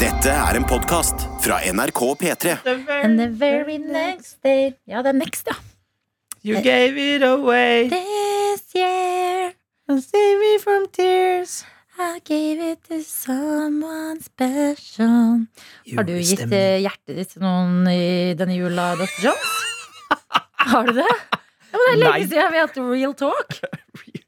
Dette er en podkast fra NRK P3. And the very next day Ja, det er next, ja. You gave it away This year and save me from tears. I gave it to someone special. Har du gitt eh, hjertet ditt til noen i denne jula, Dr. Jones? Har du det? Ja, men det er lenge Nei. siden jeg har hatt real talk. eh,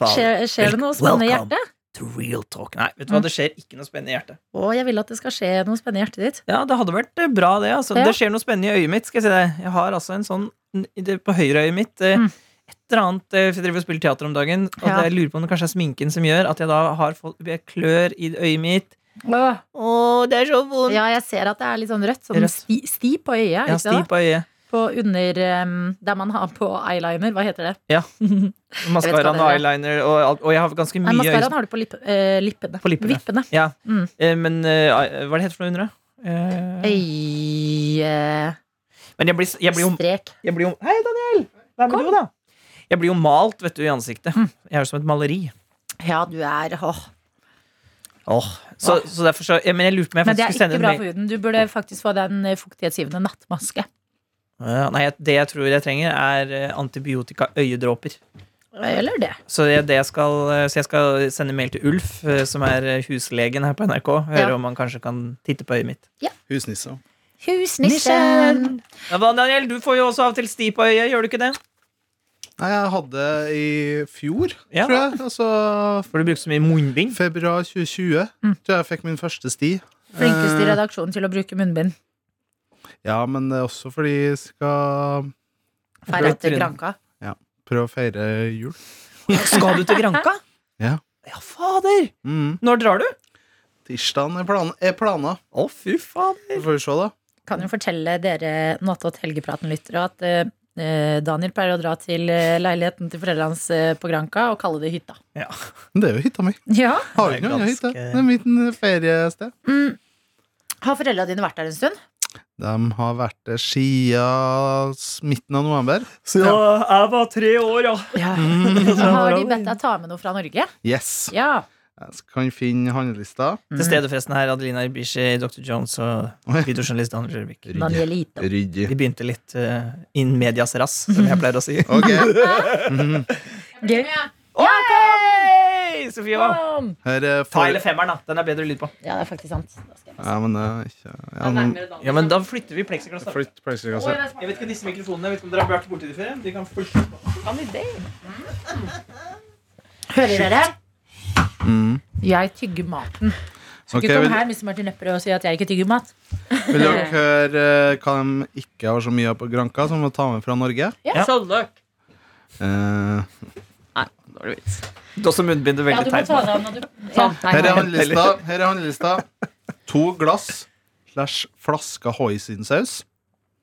Faen, Skjer, skjer det noe spennende i Welcome. hjertet? to real talk. Nei, vet du hva, det skjer ikke noe spennende i hjertet. Å, jeg vil at det skal skje noe spennende i hjertet ditt. Ja, det hadde vært eh, bra, det. Altså. Ja. Det skjer noe spennende i øyet mitt. Skal jeg si det. Jeg har altså en sånn n- i det- på høyre øyet mitt. eh, Mm. Et eller annet eh, for Jeg driver og spiller teater om dagen, og Ja. jeg lurer på om det kanskje er sminken som gjør at jeg da har fått jeg klør i øyet mitt. Åh. Å, det er så vondt! Ja, jeg ser at det er litt sånn rødt. Sånn Rødt. sti, sti på øyet. Jeg har er det Ikke det, stiv da? på øyet. På under em, Der man har på eyeliner. Hva heter det? vet hva Maskaraen det og er. eyeliner, og, alt- og jeg har ganske Nei, mye øye... Maskaraen har du på lipp, eh, lippene. På lippene. Vippene. Ja. Mm. Eh, Men eh, eh, hva er det heter for noe under, da? Eh, Øy, eh, Men jeg blir, jeg blir jo strek. Jeg blir jo Hei, Daniel! Hva er med Kom. du, da? Jeg blir jo malt, vet du, i ansiktet. Mm. Jeg er jo som et maleri. Ja, du er åh. Så, så derfor så ja, Men jeg lurte på om jeg Men det faktisk er skulle sende ikke en bra mail. for huden. Du burde faktisk få den eh, fuktighetsgivende nattmaske. Ja, Nei, jeg- det jeg tror jeg trenger, er eh, antibiotika-øyedråper. Eller det. Så, det er det jeg skal, eh, så jeg skal sende mail til Ulf, eh, som er eh, huslegen her på NRK, høre Ja. om han kanskje kan titte på øyet mitt. Husnissa. Husnissen! Ja, hva, Daniel, du får jo også av og til sti på øyet, gjør du ikke det? Nei, jeg hadde i fjor, Ja. tror jeg. Altså For du bruker så mye munnbind. februar 2020 Mm. tror jeg jeg fikk min første sti. Flinkest i Eh, redaksjonen til å bruke munnbind. Ja, men det er også fordi jeg skal Feil etter Rødt grønn. Granka. prøve å feire jul. Skal du til Granka? Ja. Ja, fader! Mm. Når drar du? Tirsdagen er, plan er plana. Å, fy fader. Så får vi se, da. Kan jo fortelle dere Nattåt Helgepraten-lyttere at eh, eh, Daniel pleier å dra til eh, leiligheten til foreldrene hans eh, på Granka og kalle det hytta. Men det er jo hytta mi. Ja. Har jo Det er ikke noe ganske- hytte. Det er mitt eh, feriested. Mm. Har foreldra dine vært der en stund? De har vært der siden s- midten av november. Så jeg var tre år, ja. Ja. Mm. Har de bedt deg ta med noe fra Norge? Yes. Ja. Jeg s- kan finne handlelista. Mm. Til stede forresten her, Adelina Ibishi, Dr. Jones og videojournalist Daniel Rørvik. Danielito. Ryddig. Vi begynte litt eh, in medias ras, som jeg pleier å si. Ok. Gøy. Oi! Sofia! Kom! Her er Ta for- hele femmeren, da. Den er bedre lyd på. Ja, det er faktisk sant. Da skal jeg passe. Ja, men det er ikke ja, men, Ja, men da flytter vi plexiglass. da. Flytt altså. pleksiglasset. Jeg vet ikke disse mikrofonene, jeg vet ikke om dere har vært borti dem før. De kan flytte på. Hører dere? Mm. Jeg tygger maten. Skal Ok, ikke vil, komme her, Mr. Martin Lepperød, og si at jeg ikke tygger mat. vil dere høre eh, hva de ikke har så mye av på Granka, som må ta med fra Norge? Ja. Sølvløk. Eh, Dårlig vits. Du har også munnbindet Ja, du veldig må teit. ta det av når du Sånn. Nei, her er nei. handlelista. Her er handlelista. To glass slash flaske hoisinsaus.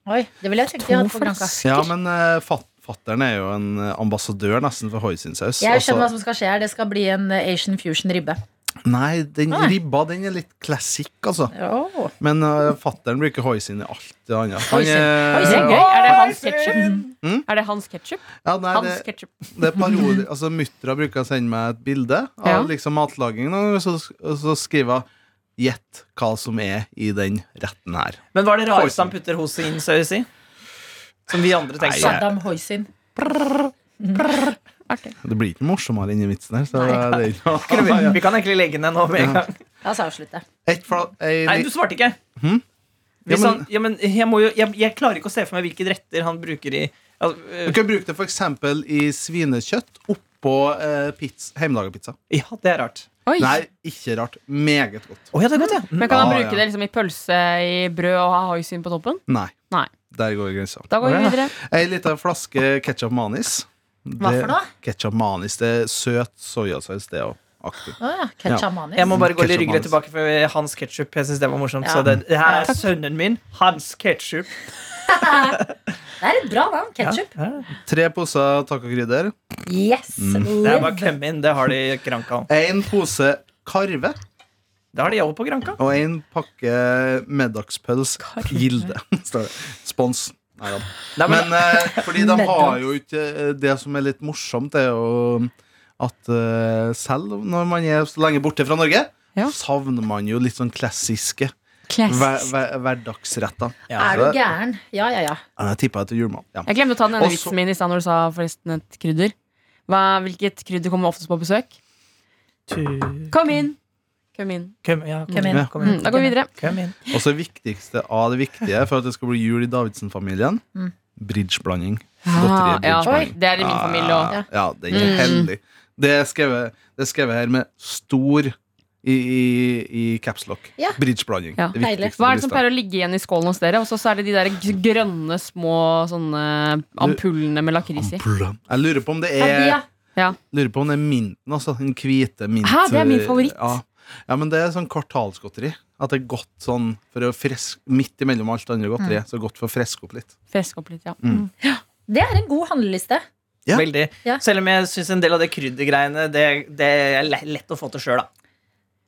Oi, det ville jeg tenkt jeg hadde på Granka. Ja, men uh, fat, fatteren er jo en eh, ambassadør nesten for hoisinsaus. Jeg skjønner hva Altså- som skal skje her. Det skal bli en eh, Asian fusion ribbe. Nei, den Nei. ribba den er litt klassikk, altså. Oh. Men uh, fattern bruker hoisin i alt det andre. Han, Hoisin. eh, Det er gøy. Er det hans ketchup? Mm. Er det hans ketchup? Ja, nei, Hans det, ketchup. Det er parodi, altså Muttra bruker å sende meg et bilde av Ja. liksom matlagingen, og så, og så skriver hun Gjett hva som er i den retten her. Men hva er det rareste han putter hosinsaus i? Som vi andre tenker sånn. på. Nei, Saddam Hoisin. Det blir ikke morsommere inni vitsen her. Så det Nei. er ikke noe- Kan vi- Vi kan egentlig legge ned nå med en gang. La oss avslutte. Et fla- ei Nei, li- du svarte ikke. Hm? Hvis Ja, han, ja, men jeg, må jo, jeg, jeg klarer ikke å se for meg hvilke retter han bruker i al- øh, Du kan bruke det for eksempel i svinekjøtt oppå eh, pizza, hjemmelaga pizza. Ja, det er rart. Oi. Nei, ikke rart. Meget godt. Å ja, det er godt, ja. Men kan han Ja, bruke ja. det liksom i pølse, i brød og ha hoisin på toppen? Nei. Nei. Der går grensa. Da Å, går vi ja. videre. Ei lita flaske ketsjup manis. Hva for noe? Ketsjup manis. Det er søt soyasaus, det òg. Aktig. Å ja. Ja. Ketchup manis. Jeg må bare gå litt Ketchup, ryggere Hans. tilbake for hans ketsjup. Jeg synes det var morsomt. Ja. Så det, det her er sønnen min. Hans ketsjup. Det er et bra navn. Ketchup. Ja. Tre poser tacokrydder. Yes. Mm. Det er bare å Live. komme inn. Det har de i Granca. En pose karve Det har de også på Granca. og en pakke middagspøls Gilde. står det. Spons. Neida. Nei, men, Men eh, fordi de har jo ikke eh, Det som er litt morsomt, er jo at eh, selv når man er så lenge borte fra Norge, Ja. savner man jo litt sånn klassiske hver, Classic. hver, hverdagsretter. Ja. Er du gæren? Ja, ja, ja. Ja, Jeg tippa etter julemat. Ja. Jeg glemte å ta den Og ene så- vitsen min i stad når du sa forresten et krydder. Hva, hvilket krydder kommer oftest på besøk? Tu- Kom inn! Kom inn. Kom, ja, Kom inn. Kom Mm, inn. da går vi videre. Kom inn. Og så det viktigste av det viktige for at det skal bli jul i Davidsen-familien. Mm. Bridgeblanding. Ah, Godteri ja, bridgeblanding. det er i min familie òg. Ja, ja, den er Mm. heldig. Det er skrevet, det er skrevet her med stor i, i, i caps lock. Ja. Bridgeblanding. Ja. Det Deilig. viktigste Hva på er det som lista. pleier å ligge igjen i skålen hos dere? Og så er det de der g- grønne små sånne ampullene med lakris i. Ampulla. Jeg lurer på om det Ja, de, Eh. ja. er Ja. Lurer på om det er minten, altså. Den hvite mint. Hæ, det er min favoritt. Ja. ja, men det er sånn kvartalsgodteri. At det er godt sånn for å fresk, midt imellom alt andre godteriet. Mm. Så godt for å freske opp litt. Fresk opp litt, ja. Mm. det er en god handleliste. Ja. Veldig. Ja. Selv om jeg syns en del av det kryddergreiene det, det er le- lett å få til sjøl, da.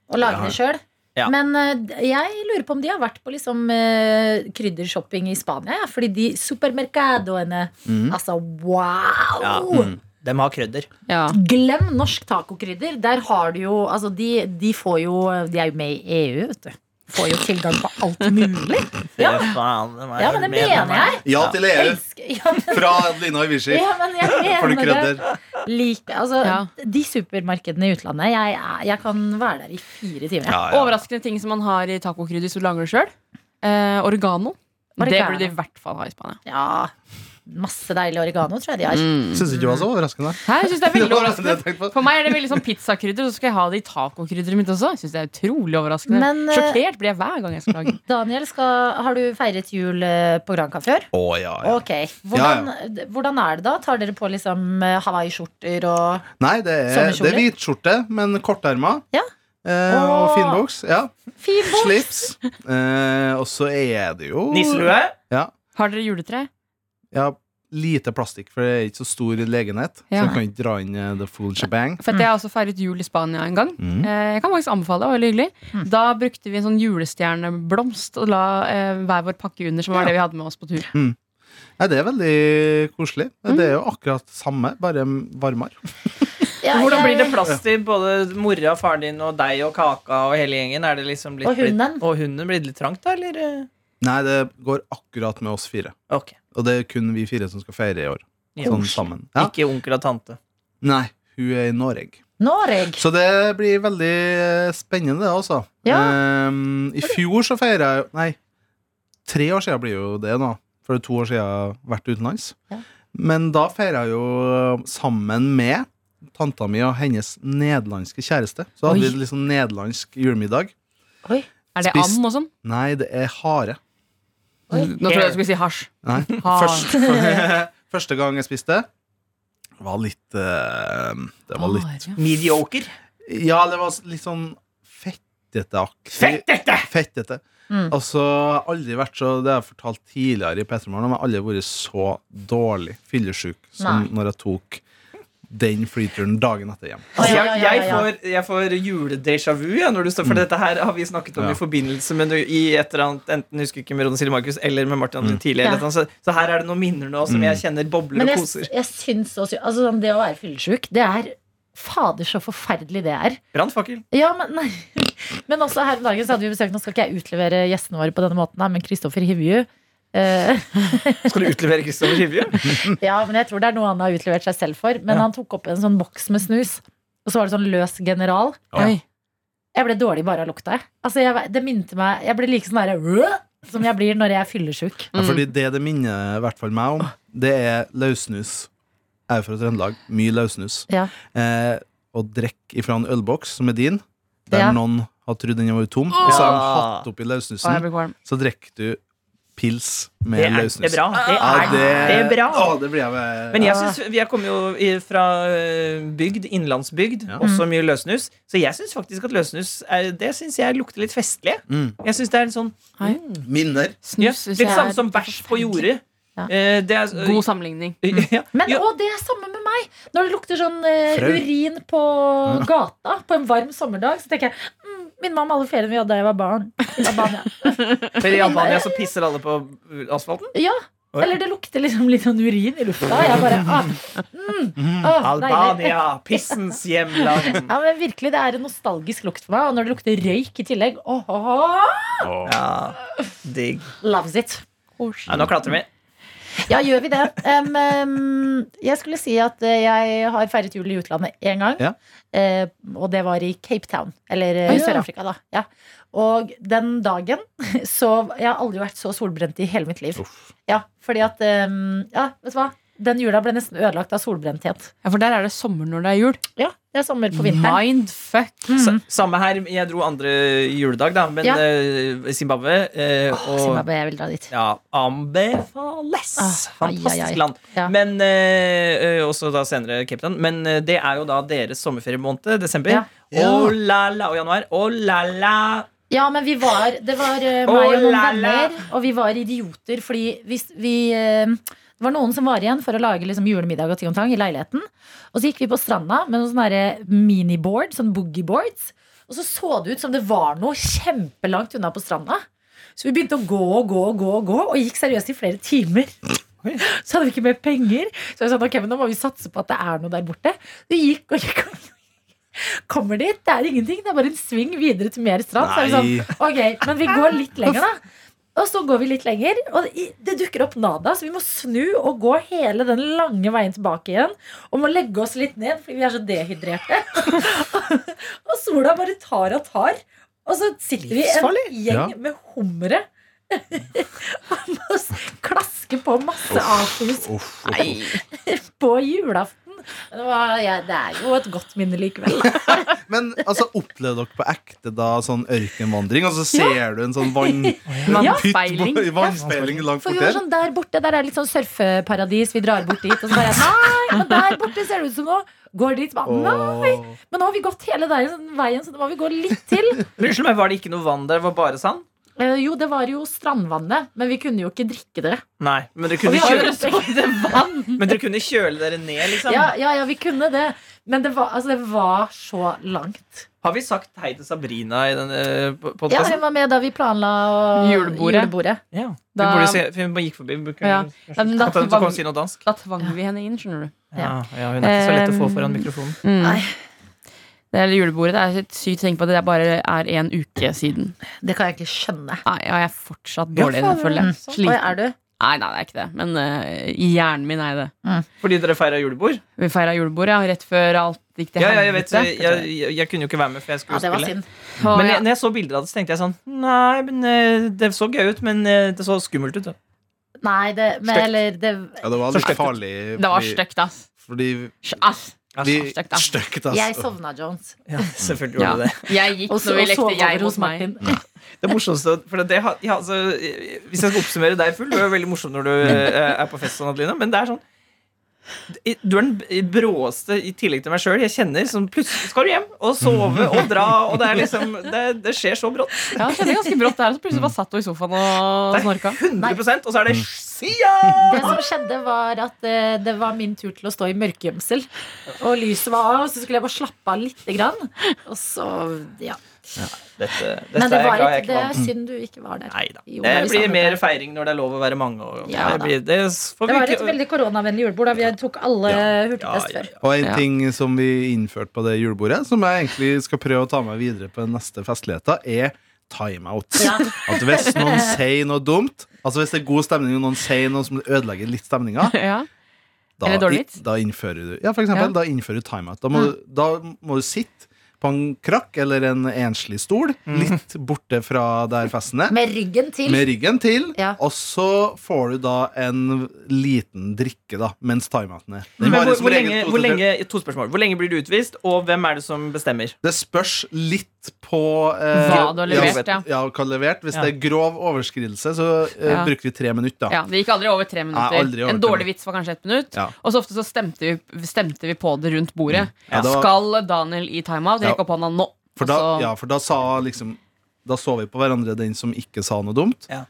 Å lage Ja. det sjøl. Ja. Men eh, jeg lurer på om de har vært på liksom, eh, kryddershopping i Spania. Ja, fordi de supermercadoene Mm. Altså, wow! Ja. mm. De har krydder. ja. Glem norsk tacokrydder. Der har du jo Altså, de, de får jo De er jo med i EU, vet du. Får jo tilgang på alt mulig. Ja. Fy Faen, de er Ja, men det med, de er- mener jeg. Ja til Jeg EU! elsker- Ja, men, Fra Lina Ivici. ja, men jeg For du mener det. krydder. Like, altså, Ja. De supermarkedene i utlandet jeg, er- jeg kan være der i fire timer. Ja, ja. Overraskende ting som man har i tacokrydder hvis du lager det sjøl. Eh, oregano. Det Oregano. burde de i hvert fall ha i Spania. Ja, Masse deilig oregano, tror jeg de har. Syns ikke det var så overraskende. Hæ, jeg synes det er Det veldig var nesten det jeg overraskende tenkte på. For meg er det veldig sånn pizzakrydder, og så skal jeg ha det i tacokrydderet mitt også. Jeg synes det er utrolig overraskende Men, eh, Sjokkert blir jeg hver gang jeg skal lage den. Daniel, skal, har du feiret jul eh, på Gran Café? Å, ja, ja. Ok, hvordan, hvordan er det da? Tar dere på liksom eh, Hawaii-skjorter og Nei, det er, Sommerkjole? det er hvitskjorte, men korterma. Ja. Eh, Åh. og finboks. Ja. Fin bok! Slips. Eh, og så er det jo Nisselue? Ja, Har dere juletre? ja, lite plastikk, for det er ikke så stor legenhet. Ja. Så jeg kan ikke dra inn eh, the full shebang. For at jeg har også feiret jul i Spania en gang. Mm. Eh, Jeg kan faktisk anbefale, det var veldig hyggelig. Mm. Da brukte vi en sånn julestjerneblomst og la eh, hver vår pakke under, som var Ja. det vi hadde med oss på tur. Nei, det er veldig koselig. Det er jo akkurat samme, bare varmere. Ja, Hvordan blir jeg- det plass til både mora, faren din og deg og kaka og hele gjengen? Er det liksom blitt, Og hunden. Blitt, og hunden blir det litt trangt, da, eller? Nei, det går akkurat med oss fire. Ok. Og det er kun vi fire som skal feire i år. Ja. Sånn sammen. Ja. Ikke onkel og tante. Nei, hun er i Norge. Noreg! Så det blir veldig eh, spennende, det også. Ehm, I fjor så feira jeg Nei, tre år siden blir jo det nå. For det er to år siden jeg har vært utenlands. Ja. Men da feira jeg jo sammen med tanta mi og hennes nederlandske kjæreste. Så hadde Oi. vi liksom nederlandsk julemiddag. Oi. Er det Spist- and og sånn? Nei, det er hare. Oi. Nå tror jeg du skulle si hasj. Nei. Har. Først, første gang jeg spiste, var litt eh, Det var litt Har, ja. Mediocre. Ja, det var litt sånn fetteteaktig. Fettete! Fettete. Mm. Altså, jeg har aldri vært så Det har jeg fortalt tidligere i Petremorgen, men jeg har aldri vært så dårlig fyllesyk som Nei. når jeg tok den flyturen dagen etter hjem. Oi, Altså, ja, ja, jeg, ja, jeg ja. får, jeg får juledéjà vu ja, når du står for dette her. Har vi snakket om Mm. Ja. i forbindelse med noe- i et eller annet Enten husker jeg ikke med Ronny Silje Markus eller med Martin André tidlig. eller et Ja. eller annet, Så, så her er det noen minner nå som Mm. jeg kjenner bobler Men og jeg, koser. jeg syns også altså, sånn, Det å være fyllesyk, det er Fader, så forferdelig det er. Brannfakkel. Ja, men, nei. men også her om dagen så hadde vi besøk Nå skal ikke jeg utlevere gjestene våre på denne måten, da, men Kristoffer Hivju eh, Skal du utlevere Kristoffer Hivju? Ja, men jeg tror det er noe han har utlevert seg selv for. Men Ja. han tok opp en sånn boks med snus, og så var det sånn løs general. Oi. Jeg ble dårlig bare av lukta. jeg. Altså, jeg, det minte meg Jeg ble like sånn derre «Åh!» som jeg blir når jeg er fyllesyk. Mm. Ja, fordi det det minner i hvert fall meg om, det er løssnus. Jeg er fra Trøndelag. Mye løssnus. Ja. Eh, og drikke ifra en ølboks som er din, der Ja. noen har trodd den var tom, og så har de hatt oppi Å, jeg løssnusen, blir kvalm. så drikker du pils Det med er, løssnus. det er bra. Det Ja, er, det... er bra. Ah. Å, det blir jeg med- Men jeg Ja. synes, jeg kommer jo i- fra eh, bygd, innlandsbygd, Ja. også mye løssnus. Så jeg syns faktisk at løssnus er, det synes jeg lukter litt festlig. Mm. Jeg synes det er en sånn Nei. mm, Minner. ja, Snus synes Litt jeg samme er som bæsj på forferdelig. jordet. Ja. Eh, Det er, God sammenligning. ja. Men Jo, å, det er samme med meg! Når det lukter sånn eh, Frø. urin på gata på en varm sommerdag, så tenker jeg mm, Min mamma alle feriene vi hadde da jeg var barn. I Albania. for I Albania så pisser alle på asfalten? Ja, Oi. Eller det lukter liksom litt sånn urin i lufta. Jeg bare, ah, mm, ah, deilig. Mm-hmm. Albania, pissens hjemland. Ja, men virkelig, Det er en nostalgisk lukt for meg. Og når det lukter røyk i tillegg åh, åh, åh, Ja, digg. Loves it. Ja, nå klatrer vi. Ja, gjør vi det? Em, em, jeg skulle si at eh, jeg har feiret jul i utlandet én gang. Ja. Eh, og det var i Cape Town, eller eh, Å, ja. Sør-Afrika, da. Ja. Og den dagen så Jeg har aldri vært så solbrent i hele mitt liv. Ja, fordi at em, Ja, vet du hva? Den jula ble nesten ødelagt av solbrenthet. Ja, For der er det sommer når det er jul. Ja, det er sommer på vinteren. Mindfuck. Sa- Samme her. Jeg dro andre juledag, da, men Ja. eh, Zimbabwe eh, Åh, og Zimbabwe, jeg vil dra dit. ja, anbefales! Ah, ai, ai, Fantastisk ai. land. Ja. Men eh, eh, Også da senere Cape Town. Men eh, det er jo da deres sommerferiemåned, eh, desember. Ja. Oh la la, og januar. Oh la la. Ja, men vi var Det var eh, Oh, meg og noen la, la. venner, og vi var idioter fordi vi, vi eh, Det var noen som var igjen for å lage liksom, julemiddag og ting og tang i leiligheten. Og så gikk vi på stranda med noen sånne der miniboard, sånn boogieboards. Og så så det ut som det var noe kjempelangt unna på stranda. Så vi begynte å gå og gå og gå og gå, og gikk seriøst i flere timer. Oi. Så hadde vi ikke mer penger. Så jeg sa ok, men nå må vi satse på at det er noe der borte. Vi gikk og gikk og gikk. Kommer dit, det er ingenting. Det er bare en sving videre til mer strand. Så er vi sånn, Nei. Ok, men vi går litt lenger da Og så går vi litt lenger Og i- det dukker opp nada Så vi må snu og gå hele den lange veien tilbake igjen Og må legge oss litt ned Fordi vi er så dehydrerte Og sola bare tar og tar Og så sitter vi en gjeng Ja. med hummere Og må s- klaske på masse akus Uff, uff. Nei. på julaften Men det, var, ja, det er jo et godt minne likevel Men altså, opplevde dere på ekte da sånn ørkenvandring, og så ser du en sånn vann, Vannspeiling. pytt på- vannspeiling langt For vi bort var der? sånn der borte, der er litt sånn surfeparadis. Vi drar bort dit, og så bare Nei, men der borte ser det ut som noe. Går dit, bare Nei! Åh. Men nå har vi gått hele der, veien, så nå må vi gå litt til. Men Unnskyld meg, var det ikke noe vann der? Det var bare sand? Eh, jo, det var jo strandvannet, men vi kunne jo ikke drikke det. Nei, men dere Og kunne, vi har jo kjøle, respekt. men dere kunne kjøle dere ned, liksom. Ja, ja, ja, vi kunne det. Men det var, altså, det var så langt. Har vi sagt hei til Sabrina i denne eh, Ja, hun podkasten? var med da vi planla å- Julebordet. Ja, ja. Vi Da- burde se, for hun bare gikk forbi. Vi kunne, Ja. Ja, men da- At hun kom og si noe dansk. Da tvang vi henne inn, skjønner du. Ja, ja, hun er ikke så lett å få Em, foran mikrofonen. Nei. Mm. Det er julebordet. Det er litt sykt å tenke på at det bare er en uke siden. Det kan jeg ikke skjønne. Mm. Nei, og jeg er fortsatt dårlig i det, faen, føler jeg. Oi, Sliten. er du? Nei, nei, det er ikke det. Men eh, i hjernen min er det. Eh, Fordi dere feira julebord? Vi feira julebord, ja. Rett før alt gikk til Ja, ja, jeg vet jeg, helvete. jeg, jeg, jeg kunne jo ikke være med, for jeg Ja, skulle det var spille. synd. Å, Men ja. jeg, når jeg så bilder av det, så tenkte jeg sånn Nei, men eh, det så gøy ut, men eh, det så skummelt ut. da. Nei, det, men, Stygt. eller, det, Ja, det var Forstøkt. litt farlig. Det var fordi- stygt, ass. Fordi Sj- ass. vi Altså, stygt, ass. Stygt, ass. jeg sovna, Jones. ja, selvfølgelig Mm. Ja. gjorde det det. Jeg gikk Og så når vi og lekte sov jeg over hos hos meg. Martin. Det morsomste for det, har- ja, altså, eh, Hvis jeg skal oppsummere deg full, du er jo veldig morsom når du eh, er på fest, sånn, Adelina, men det er sånn i- du er den b- bråeste i tillegg til meg sjøl jeg kjenner. Som plutselig skal du hjem og sove og dra. Og det, er liksom, det, det skjer så brått. Ja, det skjedde ganske brått der, og så plutselig bare satt hun i sofaen og Det er snorka. 100 og så er det Sia! Det som skjedde var at eh, det var min tur til å stå i mørkegjemsel. Og lyset var av, og så skulle jeg bare slappe av lite grann. Og så, ja. Dette, Men dette det, er jeg var glad jeg et, ikke det vant. er synd du ikke var der. Nei da. Jo, Det men vi blir savnet mer det. feiring når det er lov å være mange. Og Ja det, da. blir, det s- får Det vi var et ikke veldig koronavennlig julebord. da Vi tok alle Ja, ja, hurtigtest før. Og en Ja. ting som vi innførte på det julebordet, som jeg egentlig skal prøve å ta med videre på den neste festligheten, er timeout. Ja. At hvis noen sier noe dumt, altså hvis det er god stemning og noen sier noe som ødelegger litt stemninga, Ja. da, Eller dårlig vits. da innfører du Ja, for eksempel, Ja. Mm. da innfører du timeout. Da må, du- da må du sitte på en krakk eller en enslig stol, Mm. litt borte fra der festen er. Med ryggen til. Med ryggen til, Ja. og så får du da en liten drikke da mens timeouten er. Den Men varer hvor, som hvor, regel lenge, to hvor, til tre- lenge, to spørsmål. hvor lenge blir du utvist, og hvem er det som bestemmer? Det spørs litt på eh, Hva du har levert, ja. Ja, hva du har levert. Hvis Ja. det er grov overskridelse, så eh, Ja. bruker vi tre minutter. da. ja, Det gikk aldri over tre minutter. Nei, aldri over en tre dårlig vits var kanskje ett minutt. Ja. Mm. Og så ofte så stemte vi, stemte vi på det rundt bordet. Ja, det var- Skal Daniel i timeout? Ja. Rekk opp hånda nå. For, da, Altså- Og så- ja, for da sa liksom Da så vi på hverandre den som ikke sa noe dumt. Ja.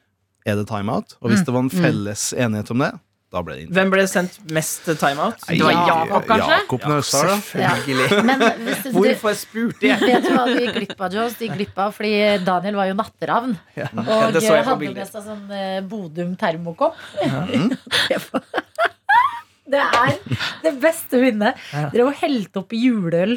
Er det timeout? Og hvis det var en felles enighet om det, Da ble det innenfor. Hvem ble sendt mest timeout? Nei, Det var Jakob, kanskje? Jakob Naustdal, da. Selvfølgelig. Men hvis du, Hvorfor spurte jeg? vet du hva de gikk glipp av, Johs? De gikk glipp av fordi Daniel var jo natteravn. Ja, Og det så jeg på hadde bilder. med seg sånn eh, Bodum termokopp. Mm. Det var- det er det beste minnet. Dere var helt opp i juleøl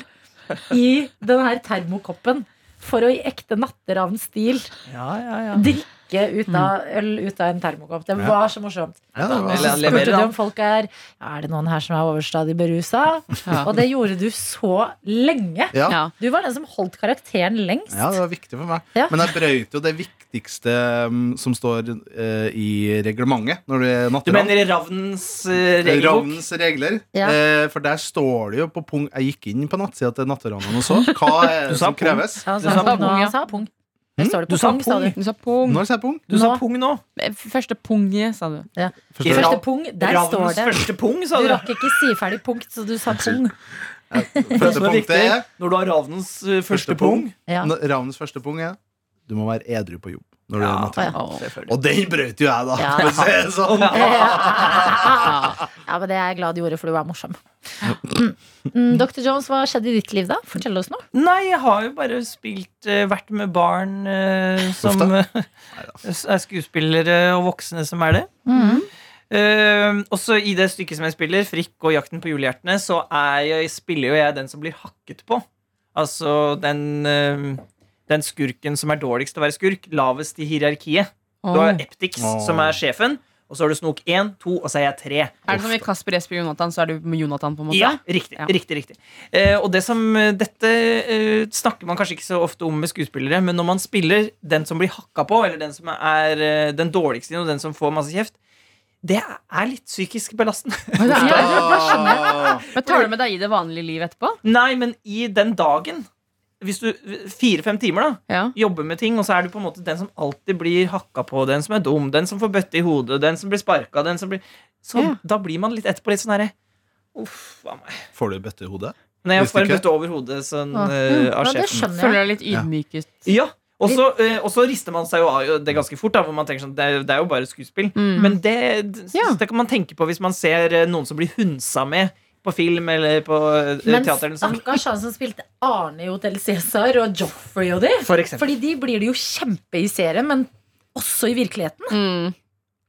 i den her termokoppen for å i ekte natteravn-stil Ja, ja, ja. drikke ut av Mm. øl ut av en termokopp. Det var så morsomt. Ja, det Eller var, han Spurte leverer, du da. om folk er Er det noen her som er overstadig berusa? Og det gjorde du så lenge. ja. Ja. Du var den som holdt karakteren lengst. altså, Ja, det var viktig for meg. Ja. Men jeg brøyt jo det viktigste um, som står eh, i reglementet når du er Du natteravn. mener Ravnens eh, regelbok? Ravnens regler. Ja. Eh, for der står det jo på punkt Jeg gikk inn på nattsida til natteravnene og så. Hva Du er det sa som pung. kreves? Ja, han Du sa sa, pung, nå, ja. han sa pung. Der står det på Du sa pung, sa pung. du. Du sa pung. Eh, Når sa jeg pung? Du sa Nå. pung nå. Første punge, sa du. Forstår Rav- Første pung, der står Ravnens det. første pung, sa Du du. rakk ikke si ferdig punkt, så du sa pung. jeg. Det som Første er punktet viktig er når du har Ravnens eh, første Første pung. pung. Ja. N- Ravnens første pung er Du må være edru på jobb. Når du Ja, er natteravn. Å. selvfølgelig. Og den brøt jo jeg, da. Ja. For å si det sånn. Ja, men det er jeg glad du gjorde, for du var morsom. Mm. Mm, Dr. Jones, hva skjedde i ditt liv, da? Fortell oss noe. Nei, jeg har jo bare spilt eh, Vært med barn eh, som Ofte. eh, s- er skuespillere, og voksne som er det. Eh, også i det stykket som jeg spiller, 'Frikk og jakten på julehjertene', så er jeg, spiller jo jeg den som blir hakket på. Altså den, eh, den skurken som er dårligst til å være skurk. Lavest i hierarkiet. Du har Er Eptix, Åh. som er sjefen, og så har du Snok 1, 2, og så er jeg 3. det som i Kasper, Jesper, Jonathan, så er du med Jonathan, på en måte? Ja, riktig. Ja. riktig, riktig. Eh, og det som, eh, dette eh, snakker man kanskje ikke så ofte om med skuespillere, men når man spiller den som blir hakka på, eller den som er eh, den dårligste og den som får masse kjeft, det er litt psykisk belastende. Ah. Men tar du med deg i det vanlige livet etterpå? Nei, men i den dagen Hvis du Fire-fem timer, da. Ja. Jobber med ting, og så er du på en måte den som alltid blir hakka på, den som er dum, den som får bøtte i hodet, den som blir sparka, den som blir Så Ja. da blir man litt etterpå litt sånn herre Uff a meg. Får du bøtte i hodet? Når jeg Hvis får en ikke- bøtte over hodet sånn, Ja. eh, av Ja, det sjefen. skjønner Føler jeg. deg litt ydmyk ut. Ja, og så, eh, og så rister man seg jo av det ganske fort, da, hvor man tenker sånn, det, er- det er jo bare skuespill. Mm. Men det, det, Ja. det kan man tenke på hvis man ser eh, noen som blir hunsa med på film eller på eh, Men teater. Eller noe sånt. stakkars han som spilte Arne i Hotell Cæsar, og Joffrey og de. For eksempel Fordi de blir det jo kjempe i serien, men også i virkeligheten. Mm.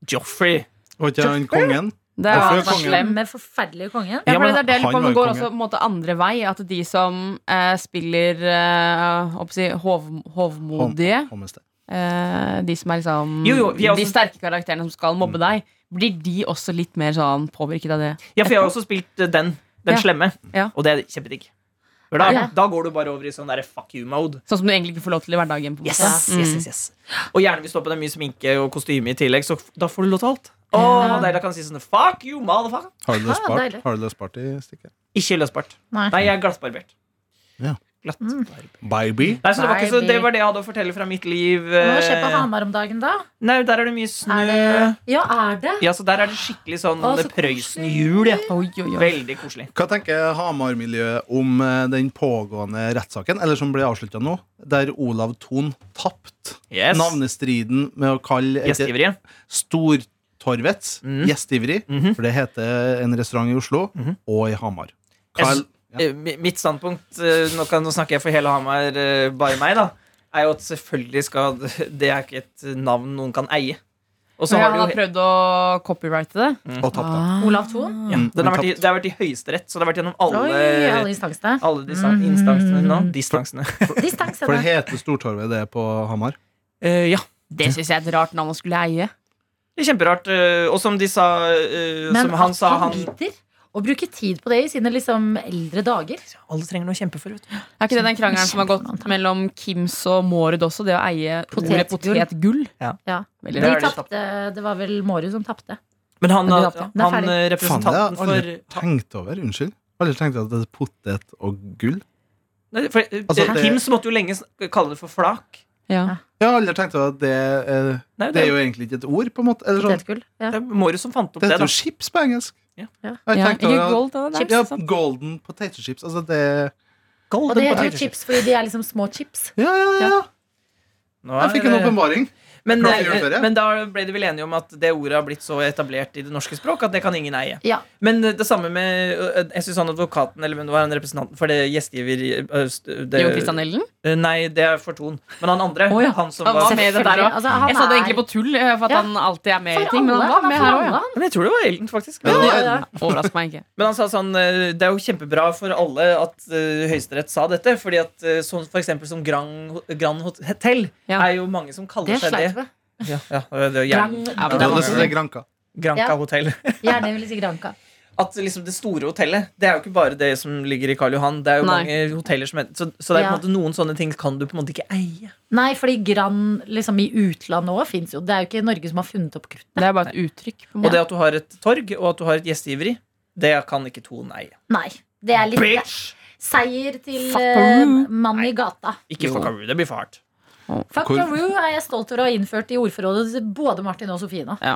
Joffrey. Og ikke han kongen? Det er Hvorfor jo er altså kongen- slem. Slemme, forferdelige kongen. Ja, Ja, for men det er det jeg lurer på om han det går var jo også på en måte andre vei. At de som eh, spiller eh, hva skal jeg si, hov, hovmodige, Hommeste. eh, de som er liksom Jo, jo, vi er de også- sterke karakterene som skal mobbe deg, blir de også litt mer sånn påvirket av det? Ja, for jeg har også spilt eh, den. Den Ja. slemme. Ja. Og det er kjempedigg. For Da, Ja. da går du bare over i sånn derre fuck you-mode. Sånn som du egentlig ikke får lov til i hverdagen. På en Yes, måte. yes, yes, yes. Og gjerne hvis du har på deg mye sminke og kostyme i tillegg, så f- da får du lov til alt. Å, Ja. deilig, da kan du si sånn fuck you, motherfucker. Har du det Ah, spart? deilig. Har du det spart i stikket? Ikke løsbart. Nei. Nei, jeg er glattbarbert. Ja. Mm. Glattbarbert. Baby? Nei, så det, var ikke så, Barbie. det var det jeg hadde å fortelle fra mitt liv. Hva skjer på eh, Hamar om dagen, da? Nei, Der er det mye snø. Er det, ja, er det? Ja, så Der er det skikkelig sånn Å, så Prøysen-jul. Ja. Oi, oi, oi. Veldig koselig. Hva tenker Hamar-miljøet om eh, den pågående rettssaken, eller som ble avslutta nå, der Olav Thon tapte Yes. navnestriden med å kalle et- Gjestgiverige. Stortorvets Mm. gjestgiveri, Mhm. for det heter en restaurant i Oslo Mhm. og i Hamar. Jeg Hva er- s- Eh, mi- Mitt standpunkt eh, nå, kan, nå snakker jeg for hele Hamar, eh, bare meg, da. Er jo at selvfølgelig skal Det er ikke et navn noen kan eie. Og så har Ja, han du jo har prøvd å copyrighte det. Ah. og tapte. Olav Thon? ja, den har vært i, Det har vært i Høyesterett, så det har vært gjennom Oi, alle Mm. alle instansene. alle disse instansene nå. Distansene. Distanse, For det da. heter Stortorvet det på Hamar. Eh, ja. Det syns jeg er et rart navn å skulle eie. Det er kjemperart. eh, Og som de sa eh, Men Som han at sa, han han biter og bruker tid på det i sine liksom eldre dager. Alle trenger noe å kjempe for. Vet du. Er ikke det den krangelen som har gått mellom Kims og Mårud også? Det å eie ordet Potetgull. potetgull? Ja. Veldig De Det er det tapte, det var vel Mårud som tapte. Men han, Det blir han, alltid. Det er ferdig. eh, Faen, det har representanten jeg aldri for tenkt over. Unnskyld. Aldri tenkt at det er potet og gull. Nei, for, eh, Altså, eh, det- Kims måtte jo lenge sn- kalle det for flak. Ja. Jeg har aldri tenkt over at det, eh, Nei, det er jo egentlig ikke et ord, på en måte. Eller sånn, Potetgull. Ja. det er Morris som fant opp det det. heter da jo chips på engelsk. Ja. Ja. Jeg Ja, har tenkt ikke over at- gold, da. det er Ja, altså. ikke sant. golden potato chips. Altså Og det Golden det heter jo potato chips fordi de er liksom små chips. Ja, ja, ja. Nå Jeg er fikk en det- åpenbaring. Men, Klart vi gjorde det før, ja. men da ble de vel enige om at det ordet har blitt så etablert i det norske språk at det kan ingen eie. Ja. Men eh, det samme med øh, Jeg synes han advokaten Eller hvem det var han representanten for det gjestgiver øh, st- det, Jon Christian Elden? Øh, Nei, det er for Thon. Men han andre, Å ja. han som Han var var med i det der Selvfølgelig. òg. Altså, han jeg sa det er- egentlig på tull, eh, for at Ja. han alltid er med i For ting. Men alle, han var er med for her alle, òg, ja. han. Men jeg tror det var Elden, faktisk. Ja, Men, det Ja, var ja. Elden. Overrasker meg ikke. men han sa sånn øh, Det er jo kjempebra for alle at øh, Høyesterett sa dette, fordi at øh, sånn for eksempel som Grand, Grand Hotel Ja. er jo mange som kaller Det seg det. sleit med. Ja, ja, det er jo Gran- gjerne- Ja, men Det det var var det som mange. er granka. Granca Ja. hotell. Gjerne vil jeg si Granca. at liksom det store hotellet Det er jo ikke bare det som ligger i Karl Johan. Det er jo Nei. mange hoteller som heter Så, så det er på Ja. en måte noen sånne ting kan du på en måte ikke eie. Nei, fordi Gran liksom, i utlandet òg fins jo. Det er jo ikke Norge som har funnet opp krutt. Det er bare et uttrykk. På en Og måte. det at du har et torg, og at du har et gjestgiveri, det kan ikke Thon eie. Nei. Det er litt Bitch! seier til eh, Fuckaroo. mannen i gata. Ikke fuckaroo. Det blir for hardt. Fuckaroo er jeg stolt over å ha innført i ordforrådet til både Martin og Sofie nå. Ja.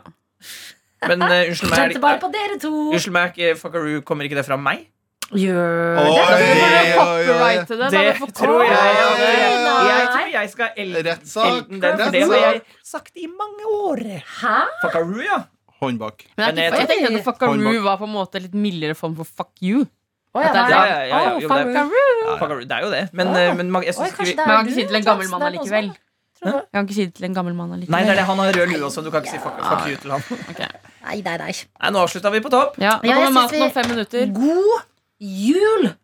Men eh, unnskyld meg, er Kjente bare det- på dere to. unnskyld meg, er ikke fuckaroo kommer ikke det fra meg? Gjør Oi, det. Du får jo oi, oi. copyrighte det, da. Det Du får tror jeg. copyrighte det. Jeg, Nei. jeg tror jeg skal el- Rettssak. elden den, for det har jeg Rettssak. sagt i mange år. Hæ? Fuckaroo, ja. Hånd bak. Men Men jeg, jeg- jeg tenkte at fuckaroo Hornbok. var på en måte litt mildere form for fuck you. Å, ja, At det nei. er Ja, ja, ja, ja, Å, jo, det er- fuckaroo. Fuckaroo, Det er jo det. Men, Ah. eh, men jeg Oi, synes ikke kanskje vi det er Men jeg kan ikke du, si det til en Trans, gammel det mann er noen som allikevel. er- Tror du- Jeg kan ikke si det til en gammel mann Nei, det er allikevel. det. Han har rød lue også, du kan ikke si fuck, fuck you til han. Nei, nei, nei. Nei, nå avslutta vi på topp. Ja, nå Ja, jeg kommer synes maten om vi- fem minutter. God jul!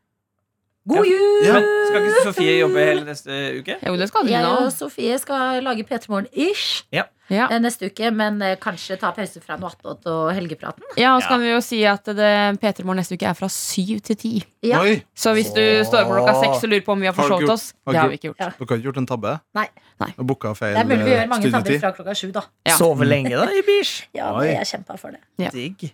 God Ja. jul! Ja. Men skal ikke Sofie jobbe hele neste uke? Jo, det skal du Jeg og nå. Sofie skal lage P3 Morgen-ish Ja. neste uke, men eh, kanskje ta pause fra noe attåt og helgepraten. Ja, og så kan vi jo si at det P3 Morgen neste uke er fra syv til ti. Ja. Oi! Så hvis du Åh. står opp klokka seks og lurer på om vi har Har du ikke forsovet gjort- oss, har det ikke har vi ikke gjort. Ja. Dere har ikke gjort en tabbe? Nei. Nei. Og booka feil Det er mulig vi gjør mange tabber eh, studietid? fra klokka sju, da. Ja. Sove lenge, da, i bish. Ja, Oi. det- jeg kjempa for det. Ja. Digg.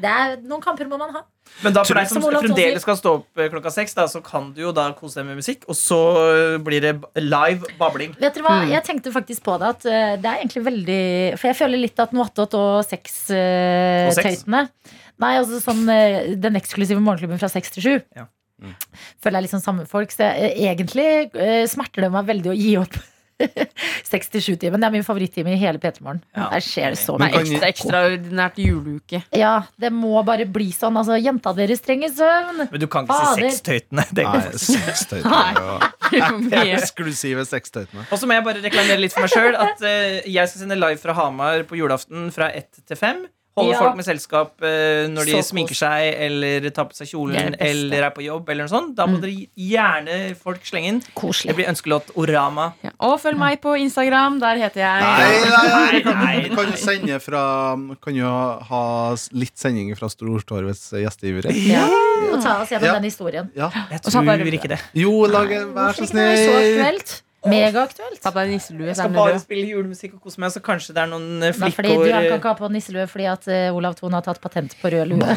Det er, noen kamper må man ha. Men da for deg som Som Olav fremdeles Thon skal stå opp eh, klokka seks, da, så kan du jo da kose deg med musikk, og så eh, blir det b- live babling. Vet dere hva, Hmm. Jeg tenkte faktisk på det at eh, det er egentlig veldig For jeg føler litt at Noatot og Og sex? sextøytene Nei, altså sånn eh, den eksklusive morgenklubben fra seks til sju. Ja. Mm. Føler jeg litt sånn samme folk. Så jeg, eh, egentlig eh, smerter det meg veldig å gi opp. 67-timen. Det er min favorittime i hele P3 Morgen. Ja. Der skjer det så Men Nei, mye. kan- ekstra, ekstraordinært juleuke. Ja, det må bare bli sånn. Altså, jenta deres trenger søvn. Men du kan ikke si Fader. sextøytene. det går Nei, faktisk. sextøytene. ja. Mye. Eksklusive sextøytene. Og så må jeg bare reklamere litt for meg sjøl at eh, jeg skal sende live fra Hamar på julaften fra ett til fem. Holde Ja. folk med selskap eh, når de Så kos. sminker seg eller tar på seg Det er kjolen det beste. Mm. eller er på jobb. eller noe sånt Da må dere gjerne folk slenge inn. Det Koselig. blir ønskelåt Orama. Ja. Og følg meg på Instagram. Der heter Nei, nei, jeg nei. Nei, nei, Du kan jo sende fra Kan jo ha- ha s- litt sending fra Stortorvets gjestgivere. Ja. Og ta oss gjennom Ja. den historien. Ja. Jeg Og så bare- tror ikke det. Jo, lage, vær Hvorfor så ikke det er så snill! aktuelt? Megaaktuelt. Ta på deg nisselue. Jeg så er skal den bare rød. spille julemusikk og kose meg, så kanskje det er noen eh, Nei, fordi du flikkår kan eh, ikke ha på nisselue fordi at eh, Olav Thon har tatt patent på rød lue.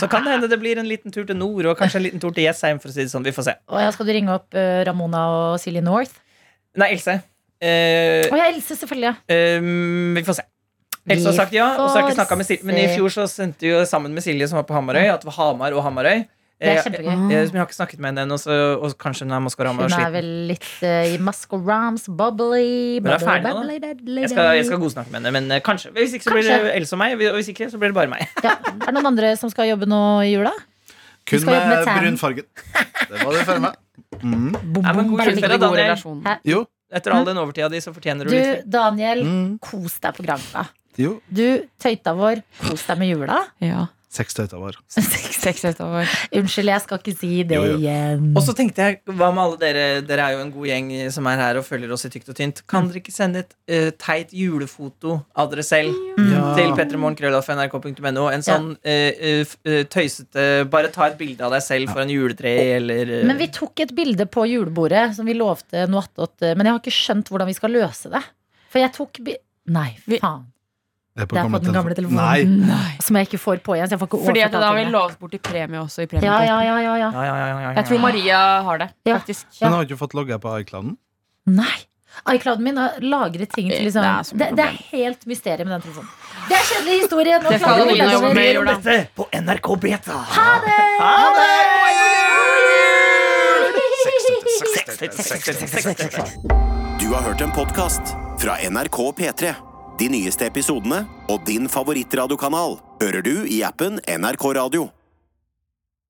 Så kan det hende det blir en liten tur til nord, og kanskje en liten tur til Jessheim, for å si det sånn. Vi får se. Og ja, skal du ringe opp eh, Ramona og Silje North? Nei, Else. Eh, Å ja, Else, selvfølgelig. ja. Um, vi får se. Vi Else har sagt ja, og så har jeg ikke snakket med Silje. Men i får se. fjor så sendte vi jo sammen med Silje, som var på Hamarøy, at det var Hamar og Hamarøy. Det Eh, er kjempegøy. eh, som jeg har ikke snakket med henne ennå, så- og kanskje hun er Maskorama og Hun er sliten. vel litt eh, i mask og rams, bubbly, Men hun er bubbly, ferdig nå, da. bubbly, deadly, Jeg skal, jeg skal godsnakke med henne, men eh, kanskje. Hvis ikke så blir det Kanskje. Else og meg, og hvis ikke så blir det bare meg. Ja. Er det noen andre som skal jobbe nå i jula? Du Kun skal jobbe med med tan. brunfargen. Det var det for meg. Mm. Nei, men god jul til Veldig deg, god Daniel. relasjon. Hæ? Jo. Etter all den overtida di, så fortjener du Du, litt. Daniel, Mm. kos deg på Granka. Jo. Du, tøyta vår, kos deg med jula. Ja. Sextøyta vår. Seks utover. Unnskyld, jeg skal ikke si det Jo, jo. igjen. Og så tenkte jeg, hva med alle dere Dere er jo en god gjeng som er her og følger oss i tykt og tynt. Kan dere ikke sende et eh, teit julefoto av dere selv? til petremorgenkrøllalfa.nrk.no. En sånn eh, eh, f- eh, tøysete Bare ta et bilde av deg selv foran juletreet, eller eh, Men vi tok et bilde på julebordet som vi lovte noe attåt, men jeg har ikke skjønt hvordan vi skal løse det. For jeg tok bi... Nei, Vi- faen. Det er Det er på den gamle telefonen. Mm. Nei. Nei. Som jeg ikke får på igjen. Så jeg får ikke Fordi at overført da har alt vi til lovet bort i premie også. I det. ja, ja, premiepotten. ja, ja, ja, ja. ja, ja, ja, ja, ja. Jeg tror Maria har det, Ja. faktisk. Ja. Men har ikke du fått logga på iClouden? Nei. iClouden min har lagret ting til liksom Det Det er så mye det, er helt mysterium med den telefonen. Det er kjedelig historie! Nå Det får klager du vi begynne å jobbe med, nedover. Jorda. Dette på NRK Beta! Ha det! Ha det! Sextøyta, sextøyta, sextøyta. Du Du har hørt en podcast fra NRK P3. De nyeste episodene og din favorittradiokanal hører du i appen NRK Radio.